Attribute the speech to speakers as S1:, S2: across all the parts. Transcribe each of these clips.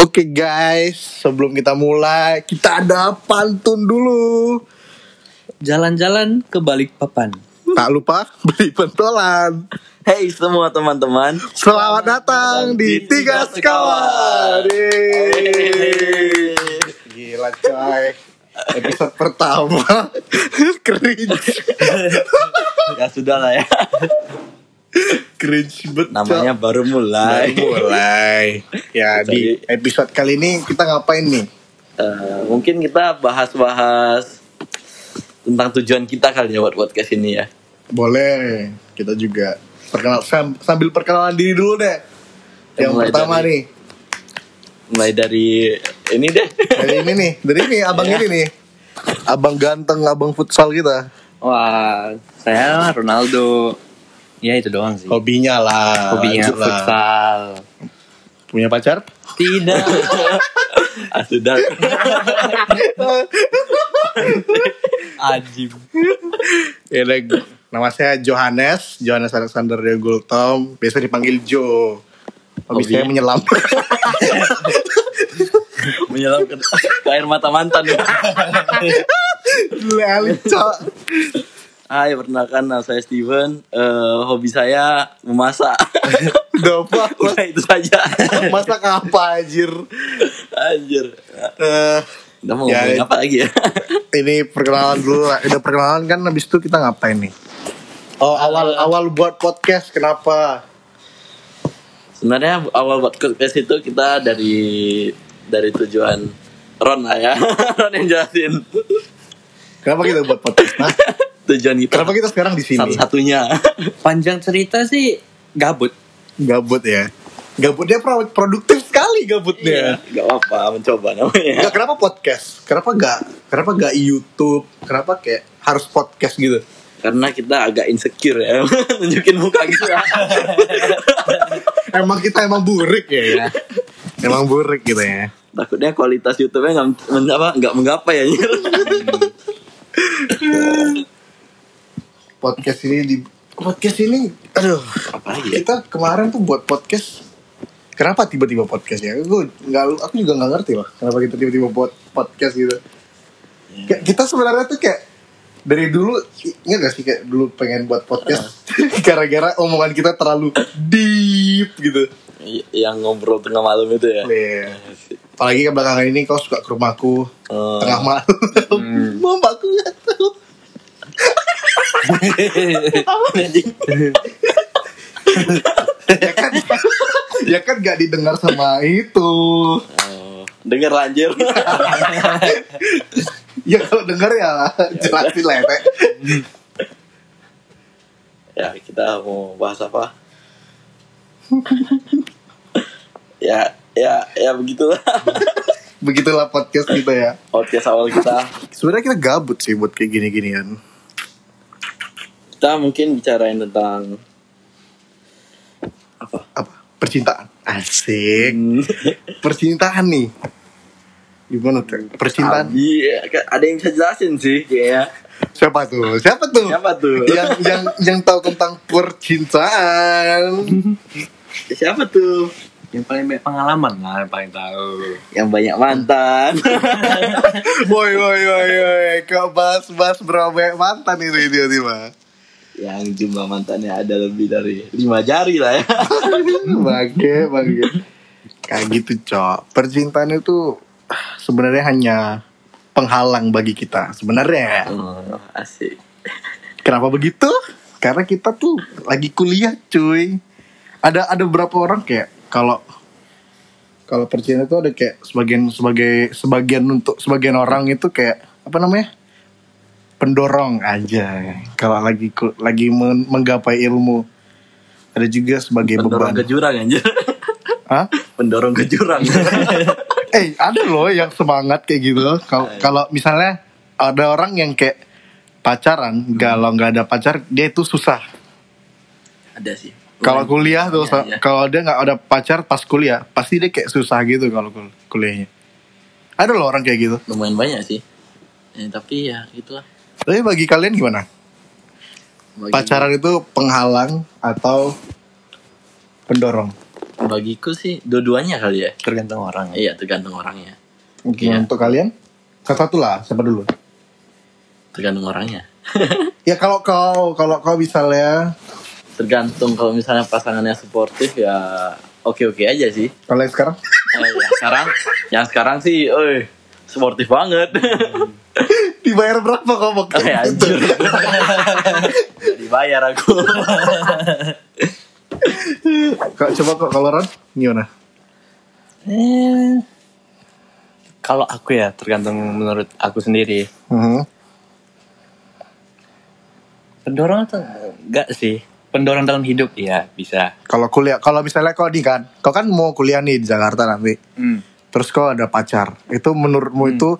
S1: Oke guys, sebelum kita mulai, kita ada pantun dulu.
S2: Jalan-jalan ke Balikpapan.
S1: Tak lupa beli pentolan.
S3: Hey semua teman-teman.
S1: Selamat datang di Tiga Sekawan. Yeay. Gila coy. Episode pertama cringe,
S3: Ya sudah lah ya.
S1: cringe banget.
S3: Namanya baru
S1: Baru
S3: mulai.
S1: mulai. Ya di episode kali ini kita ngapain nih?
S3: Eh, mungkin kita bahas-bahas tentang tujuan kita kali ya buat podcast ini ya.
S1: Boleh. Kita juga perkenal sam- sambil perkenalan diri dulu deh. Yang
S3: Ya, mulai
S1: pertama
S3: dari-
S1: nih,
S3: Mulai dari ini deh.
S1: dari ini nih, dari ini abang
S3: Iya.
S1: ini nih. Abang ganteng, abang futsal kita.
S2: Wah, saya Ronaldo. Ya itu doang sih.
S1: Hobinya lah.
S2: Hobinya
S1: Oh, lanjut lah.
S2: futsal.
S1: Punya pacar?
S2: Tidak.
S3: Ah, sudah.
S2: Ajib.
S1: ya, deh. nama saya Johannes, Johannes Alexander Degultom, biasa dipanggil Jo. Hobi
S3: Hobi.
S1: saya menyelam.
S3: Menyelam ke, ke air mata mantan ya.
S1: Lali, Cok.
S3: Hai, perkenalkan nama saya Steven. Eh, hobi saya memasak.
S1: Dopa, mas-
S3: Udah itu saja.
S1: masak apa anjir?
S3: Anjir.
S1: Eh,
S3: Udah mau
S1: Ya,
S3: ngomongin
S1: itu-
S3: apa lagi ya?
S1: ini perkenalan dulu lah. Udah perkenalan kan habis itu kita ngapain nih? Oh, awal awal buat podcast kenapa?
S3: Sebenarnya awal buat podcast itu kita dari dari tujuan Ron lah ya. Ron yang jelasin
S1: Kenapa kita buat podcast? Nah,
S3: tujuan kita.
S1: kenapa kita sekarang di sini?
S3: Satu-satunya.
S2: Panjang cerita sih gabut.
S1: Gabut ya. Gabutnya pro- produktif sekali gabutnya.
S3: Gak Iya, apa-apa mencoba namanya.
S1: Nggak, kenapa podcast? Kenapa gak kenapa gak YouTube? Kenapa kayak harus podcast gitu?
S3: Karena kita agak insecure ya. Nunjukin muka kita.
S1: Emang kita emang burik ya. ya? emang burik gitu ya.
S3: Takutnya kualitas YouTube-nya nggak men- apa, nggak menggapai ya. Nyir.
S1: Podcast ini di podcast ini aduh
S3: apa lagi ya?
S1: kita kemarin tuh buat podcast kenapa tiba-tiba podcast ya gue nggak aku juga nggak ngerti lah kenapa kita tiba-tiba buat podcast gitu
S3: Iya.
S1: Kayak kita sebenarnya tuh kayak dari dulu ingat gak sih kayak dulu pengen buat podcast
S3: Iya.
S1: gara-gara omongan kita terlalu deep gitu
S3: Y- Yang ngobrol tengah malam itu ya.
S1: Iya. apalagi ke belakangan ini kau suka ke rumahku
S3: Eh,
S1: tengah malam mamaku nggak tahu ya kan ya kan nggak didengar sama itu
S3: eh, Denger lanjir.
S1: ya kalau denger ya jelasin lah ya Teh.
S3: ya kita mau bahas apa ya ya ya begitulah
S1: begitulah podcast kita ya
S3: podcast awal kita
S1: sebenarnya kita gabut sih buat kayak gini-ginian
S3: kita mungkin bicarain tentang apa
S1: apa percintaan asik percintaan nih gimana tuh percintaan
S3: Iya, ka- ada yang bisa jelasin sih kayaknya
S1: siapa tuh siapa tuh
S3: siapa tuh
S1: yang yang yang tahu tentang percintaan
S3: siapa tuh
S2: Yang paling banyak pengalaman lah, yang paling tahu.
S3: yang banyak mantan
S1: woi woi woi woi kok bahas bahas berobek mantan ini tiba-tiba
S3: yang jumlah mantannya ada lebih dari lima jari lah ya
S1: bangke bangke kayak gitu cok percintaan itu ah, sebenarnya hanya penghalang bagi kita sebenarnya
S3: Oh, asik
S1: kenapa begitu karena kita tuh lagi kuliah cuy ada ada berapa orang kayak kalau kalau percintaan itu ada kayak sebagian sebagai sebagian untuk sebagian orang itu kayak apa namanya pendorong aja kalau lagi ku- lagi men- menggapai ilmu ada juga sebagai
S3: pendorong ke
S1: beban
S3: jurang anjir
S1: Hah?
S3: pendorong ke jurang
S1: eh ada loh yang semangat kayak gitu kalau kalau misalnya ada orang yang kayak pacaran kalau nggak ada pacar dia itu susah
S3: ada sih
S1: kalau kuliah tuh
S3: Iya,
S1: sa-
S3: iya.
S1: kalau dia nggak ada pacar pas kuliah pasti dia kayak susah gitu kalau kul- kuliahnya ada loh orang kayak gitu
S3: lumayan banyak sih Eh, tapi ya gitulah
S1: tapi bagi kalian gimana
S3: Bagi-
S1: pacaran itu penghalang atau pendorong
S3: bagiku sih dua-duanya kali ya.
S2: Tergantung orang.
S3: Iya, tergantung orangnya.
S1: Mungkin
S3: Iya.
S1: untuk kalian salah satu lah siapa dulu
S3: Tergantung orangnya.
S1: ya kalau kau kalau kau misalnya
S3: Tergantung kalau misalnya pasangannya suportif ya oke-oke aja sih.
S1: kalau yang sekarang
S3: Eh, yang sekarang, yang sekarang sih, oi, sportif banget.
S1: dibayar berapa kau mau
S2: Oh,
S3: Eh,
S2: ya,
S3: anjir. Nggak Dibayar aku.
S1: Kak, coba kok kalau Ran gimana
S2: Eh, kalau aku ya tergantung menurut aku sendiri.
S1: Mhm.
S2: Pendorong atau enggak sih? Pendorong dalam hidup ya bisa.
S1: kalau kuliah kalau misalnya kau nih kan kau kan mau kuliah nih di Jakarta nanti
S3: Hmm.
S1: terus kau ada pacar itu menurutmu itu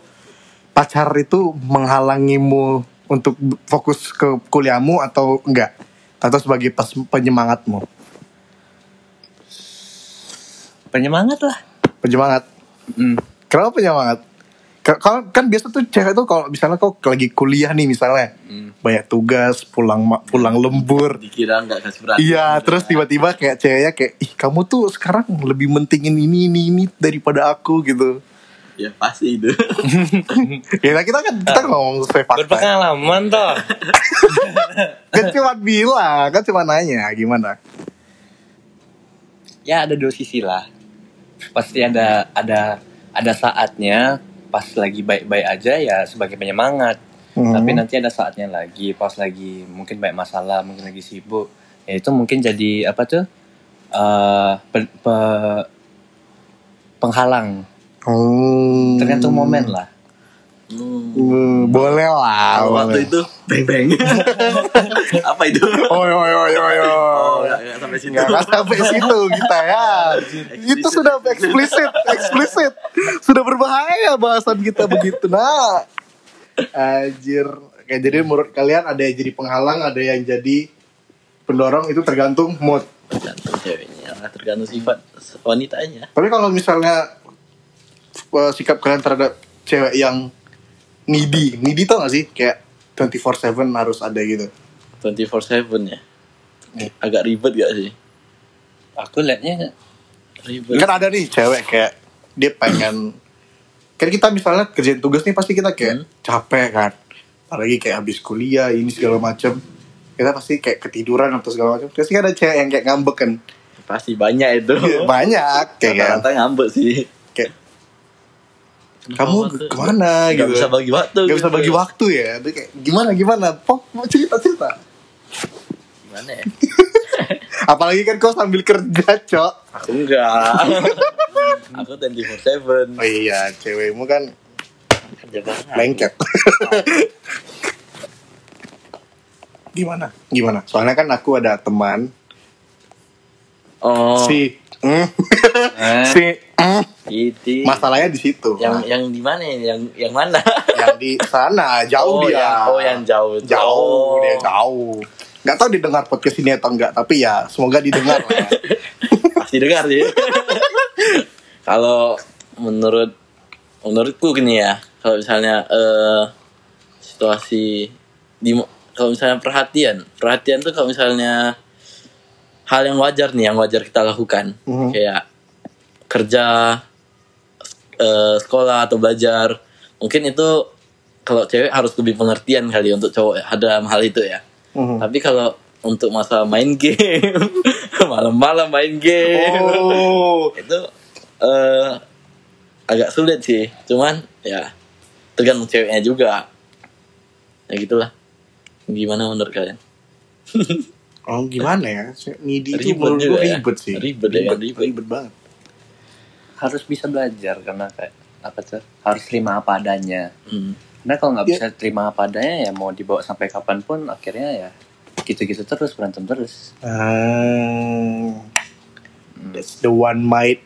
S1: pacar itu menghalangimu untuk b- fokus ke kuliahmu atau enggak atau sebagai pes- penyemangatmu
S2: Penyemangat lah.
S1: penyemangat
S3: Hmm.
S2: Mm.
S1: kenapa penyemangat Ke- kalau kan biasa tuh cewek tuh kalau misalnya kau lagi kuliah nih misalnya banyak tugas pulang ma- pulang lembur
S3: Dikira nggak kasih perhatian.
S1: Iya, terus tiba-tiba kayak ceweknya kayak, ih kamu tuh sekarang lebih mentingin ini, ini, ini daripada aku gitu.
S3: Ya pasti itu.
S1: Ya nah, kita kan kita ngomong sesuai fakta. ya.
S2: Berpengalaman toh.
S1: Kan cuma bilang, kan cuma nanya gimana.
S2: ya ada dua sisi lah. Pasti ada ada ada saatnya pas lagi baik-baik aja ya sebagai penyemangat.
S1: Mhm.
S2: Tapi nanti ada saatnya lagi pas lagi mungkin banyak masalah, mungkin lagi sibuk. Ya itu mungkin jadi apa tuh? eh, pe- pe- penghalang
S1: Hmm.
S2: tergantung momen lah.
S3: Hmm.
S1: Hmm, boleh lah. Boleh.
S3: Waktu itu beng beng. Apa itu?
S1: Oi oi oi oi.
S3: Oh,
S1: oi.
S3: nggak nggak sampai sini.
S1: Nggak akan sampai situ kita ya. Itu sudah eksplisit, eksplisit. Sudah berbahaya bahasan kita begitu nah. Anjir. Oke, jadi menurut kalian ada yang jadi penghalang, ada yang jadi pendorong itu tergantung mood.
S3: Tergantung ceweknya, tergantung sifat wanitanya.
S1: Tapi kalau misalnya eh, sikap kalian terhadap cewek yang needy, needy tau gak sih? Kayak 24/7 harus ada gitu.
S3: 24/7 ya. Agak ribet gak sih?
S2: Aku liatnya
S3: Ribet.
S1: kan ada nih cewek kayak dia pengen kan kita misalnya kerjain tugas nih pasti kita
S3: Hmm.
S1: kayak capek kan apalagi kayak habis kuliah ini segala macem kita pasti kayak ketiduran atau segala macam pasti ada cewek yang kayak ngambek kan
S3: Pasti banyak itu.
S1: Iya, banyak kayak kan.
S3: Rata-rata ngambek sih.
S1: kayak kamu
S3: Kenapa tuh?
S1: kemana
S3: Gak
S1: gitu
S3: Iya. bisa bagi waktu.
S1: Gak bisa
S3: gitu.
S1: bagi waktu ya Dia kayak gimana gimana pok mau cerita cerita
S3: Gimana ya?
S1: apalagi kan kau sambil kerja cok
S3: Aku enggak. Aku 24/7.
S1: oh iya cewekmu kan
S3: Kerja banget.
S1: lengket iya. gimana gimana soalnya kan aku ada teman
S3: Oh,
S1: si mm,
S2: eh,
S1: si mm.
S3: itu.
S1: masalahnya di situ
S3: Yang
S1: Nah,
S3: yang di mana? ya? Yang yang mana?
S1: yang di sana jauh
S3: oh,
S1: dia
S3: Yang, oh, yang jauh. itu.
S1: jauh
S3: Oh.
S1: dia jauh nggak tahu didengar podcast ini atau enggak tapi ya semoga didengar lah
S3: pasti dengar sih. kalau menurut menurutku gini ya, kalau misalnya eh situasi di kalau misalnya perhatian, perhatian tuh kalau misalnya hal yang wajar nih, yang wajar kita lakukan,
S1: Mhm.
S3: kayak kerja, eh, sekolah atau belajar, mungkin itu kalau cewek harus lebih pengertian kali ya untuk cowok ada hal itu ya.
S1: Mhm.
S3: Tapi kalau untuk masa main game, malam-malam main game,
S1: oh
S3: itu eh, agak sulit sih. Cuman ya tergantung ceweknya juga. Ya gitulah. Gimana menurut kalian?
S1: oh gimana ya Nidi itu
S3: Ribet
S1: menurut
S3: juga
S1: gue
S3: ya.
S1: ribet sih
S3: Ribet ya, ribet.
S1: ribet banget
S2: harus bisa belajar karena kayak apa tuh? Harus terima apa adanya.
S3: Hmm.
S2: Karena kalau nggak
S1: Ya.
S2: bisa terima apa adanya ya mau dibawa sampai kapanpun akhirnya ya gitu-gitu terus berantem terus.
S1: Ah, that's the one might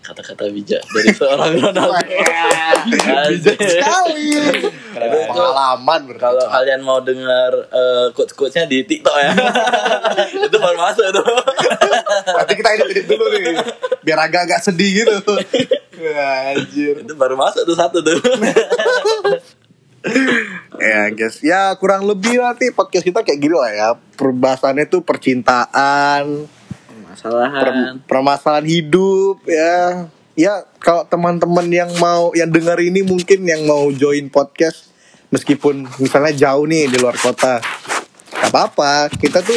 S3: Kata-kata bijak dari seorang Ronaldo.
S1: Bijak sekali.
S3: Aduh, itu-
S1: Pengalaman berarti.
S3: Kalau kalian mau dengar eh, quotes-quotesnya di TikTok ya. itu baru masuk itu.
S1: Nanti kita edit-edit dulu nih. Biar agak-agak sedih gitu. Ya, Anjir.
S3: itu baru masuk tuh satu tuh.
S1: Ya guys, ya kurang lebih nanti podcast kita kayak gini lah ya. Perbahasannya tuh percintaan,
S4: permasalahan.
S1: per- permasalahan hidup ya ya kalau teman-teman yang mau yang dengar ini mungkin yang mau join podcast meskipun misalnya jauh nih di luar kota nggak apa-apa kita tuh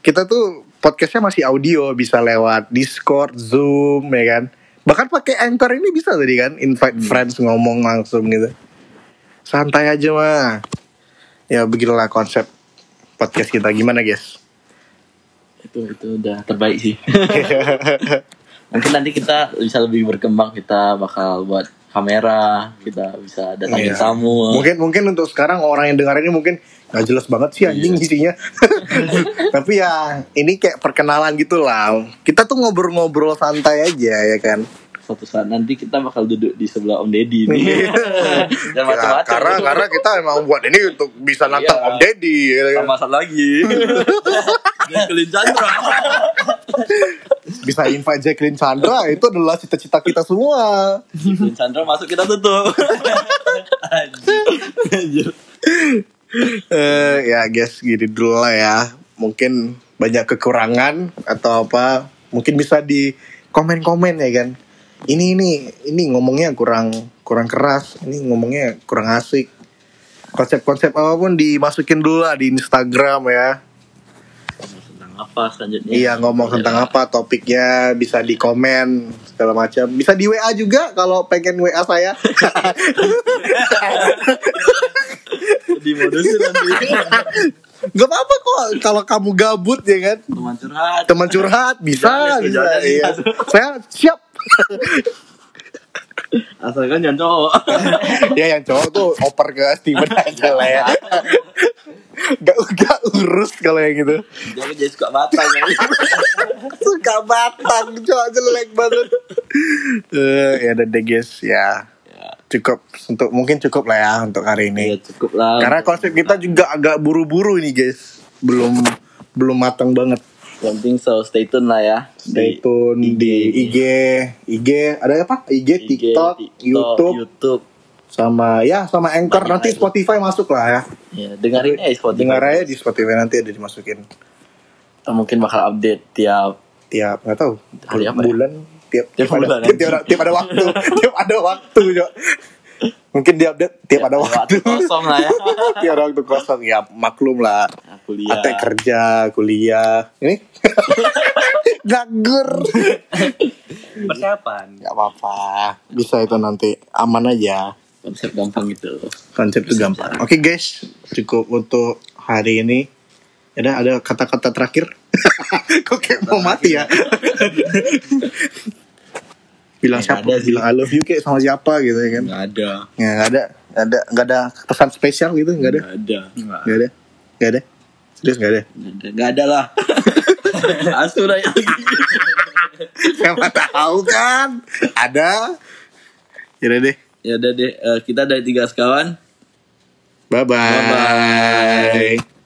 S1: kita tuh podcastnya masih audio bisa lewat Discord Zoom ya kan bahkan pakai anchor ini bisa tadi kan invite friends ngomong langsung gitu santai aja mah ya begitulah konsep podcast kita gimana guys
S4: Itu itu udah terbaik sih. Mungkin nanti kita bisa lebih berkembang, kita bakal buat kamera, kita bisa datangin
S1: Iya.
S4: tamu.
S1: Mungkin mungkin untuk sekarang orang yang dengar ini mungkin nggak jelas banget sih anjing
S4: Iya.
S1: isinya. Tapi ya ini kayak perkenalan gitu lah. Kita tuh ngobrol-ngobrol santai aja ya kan.
S4: Suatu saat nanti kita bakal duduk di sebelah Om Deddy nih. Dan
S1: Ya, Iya.
S4: macam-macam. gitu.
S1: karena karena kita emang buat ini untuk bisa nantang
S4: Iya.
S1: Om Deddy. ya kan.
S4: sama satu lagi. Jacqueline Chandra.
S1: Bisa invite Jacqueline Chandra itu adalah cita-cita kita semua.
S4: Jacqueline Chandra masuk kita tutup. Anjir. Anjir.
S1: Eh ya guys gini dulu lah ya. Mungkin banyak kekurangan atau apa. Mungkin bisa di komen-komen ya kan. Ini ini ini ngomongnya kurang kurang keras. Ini ngomongnya kurang asik. Konsep-konsep apapun dimasukin dulu lah di Instagram ya.
S4: Tentang apa selanjutnya?
S1: Iya ngomong tentang apa topiknya bisa di komen segala macam. Bisa di WA juga kalau pengen WA saya.
S4: Di modusin nanti.
S1: Gak apa-apa kok kalau kamu gabut ya kan.
S4: Teman curhat.
S1: teman curhat bisa
S4: Jangan,
S1: bisa
S4: jangan,
S1: iya.
S4: jangan.
S1: saya siap
S4: Asalkan jangan cowok.
S1: ya yang cowok tuh oper ke Steven aja lah ya gak, gak urus kalau yang gitu
S4: Jangan jadi suka batal. ya.
S1: suka batang cowok jelek banget Eh, ya udah deh guys ya
S4: Ya.
S1: cukup untuk mungkin cukup lah ya untuk hari
S4: Ya
S1: ini
S4: cukup lah.
S1: karena konsep kita juga agak buru-buru ini guys belum belum matang banget
S4: Yang penting so stay tune lah ya.
S1: stay tune di IG IG ada apa IG, TikTok, YouTube
S4: YouTube.
S1: sama ya sama anchor
S4: Banyak
S1: nanti
S4: lagi.
S1: Spotify masuk lah ya
S4: Ya, dengerin ya Spotify.
S1: dengar aja di Spotify nanti ada dimasukin
S4: Mungkin bakal update tiap
S1: tiap nggak tahu
S4: Hari apa ya?
S1: bulan tiap
S4: Tiap
S1: tiap, ada,
S4: bulan,
S1: tiap, tiap, ada, tiap ada waktu tiap ada waktu Cok. mungkin di update tiap ada waktu
S4: kosong lah ya.
S1: tiap ada waktu Iya. kosong ya maklum lah
S4: Nah, kuliah.
S1: Ate kerja kuliah ini nganggur
S3: Persiapan.
S1: nggak apa-apa bisa itu nanti aman aja
S4: Konsep gampang gitu.
S1: konsep itu gampang oke guys cukup untuk hari ini Ya ada ada kata-kata terakhir kok kayak mau mati ya bilang
S4: Eh, Nggak
S1: siapa
S4: ada sih.
S1: bilang I love you kayak sama siapa gitu ya kan
S4: Enggak ada.
S1: nggak nggak ada nggak ada nggak ada pesan spesial gitu nggak ada
S4: Enggak ada.
S1: nggak ada nggak ada serius nggak ada
S4: Enggak ada lah. Asu lah ya. yang
S1: siapa tahu kan ada ya udah deh
S4: Ya udah deh, eh, kita dari tiga sekawan.
S1: bye bye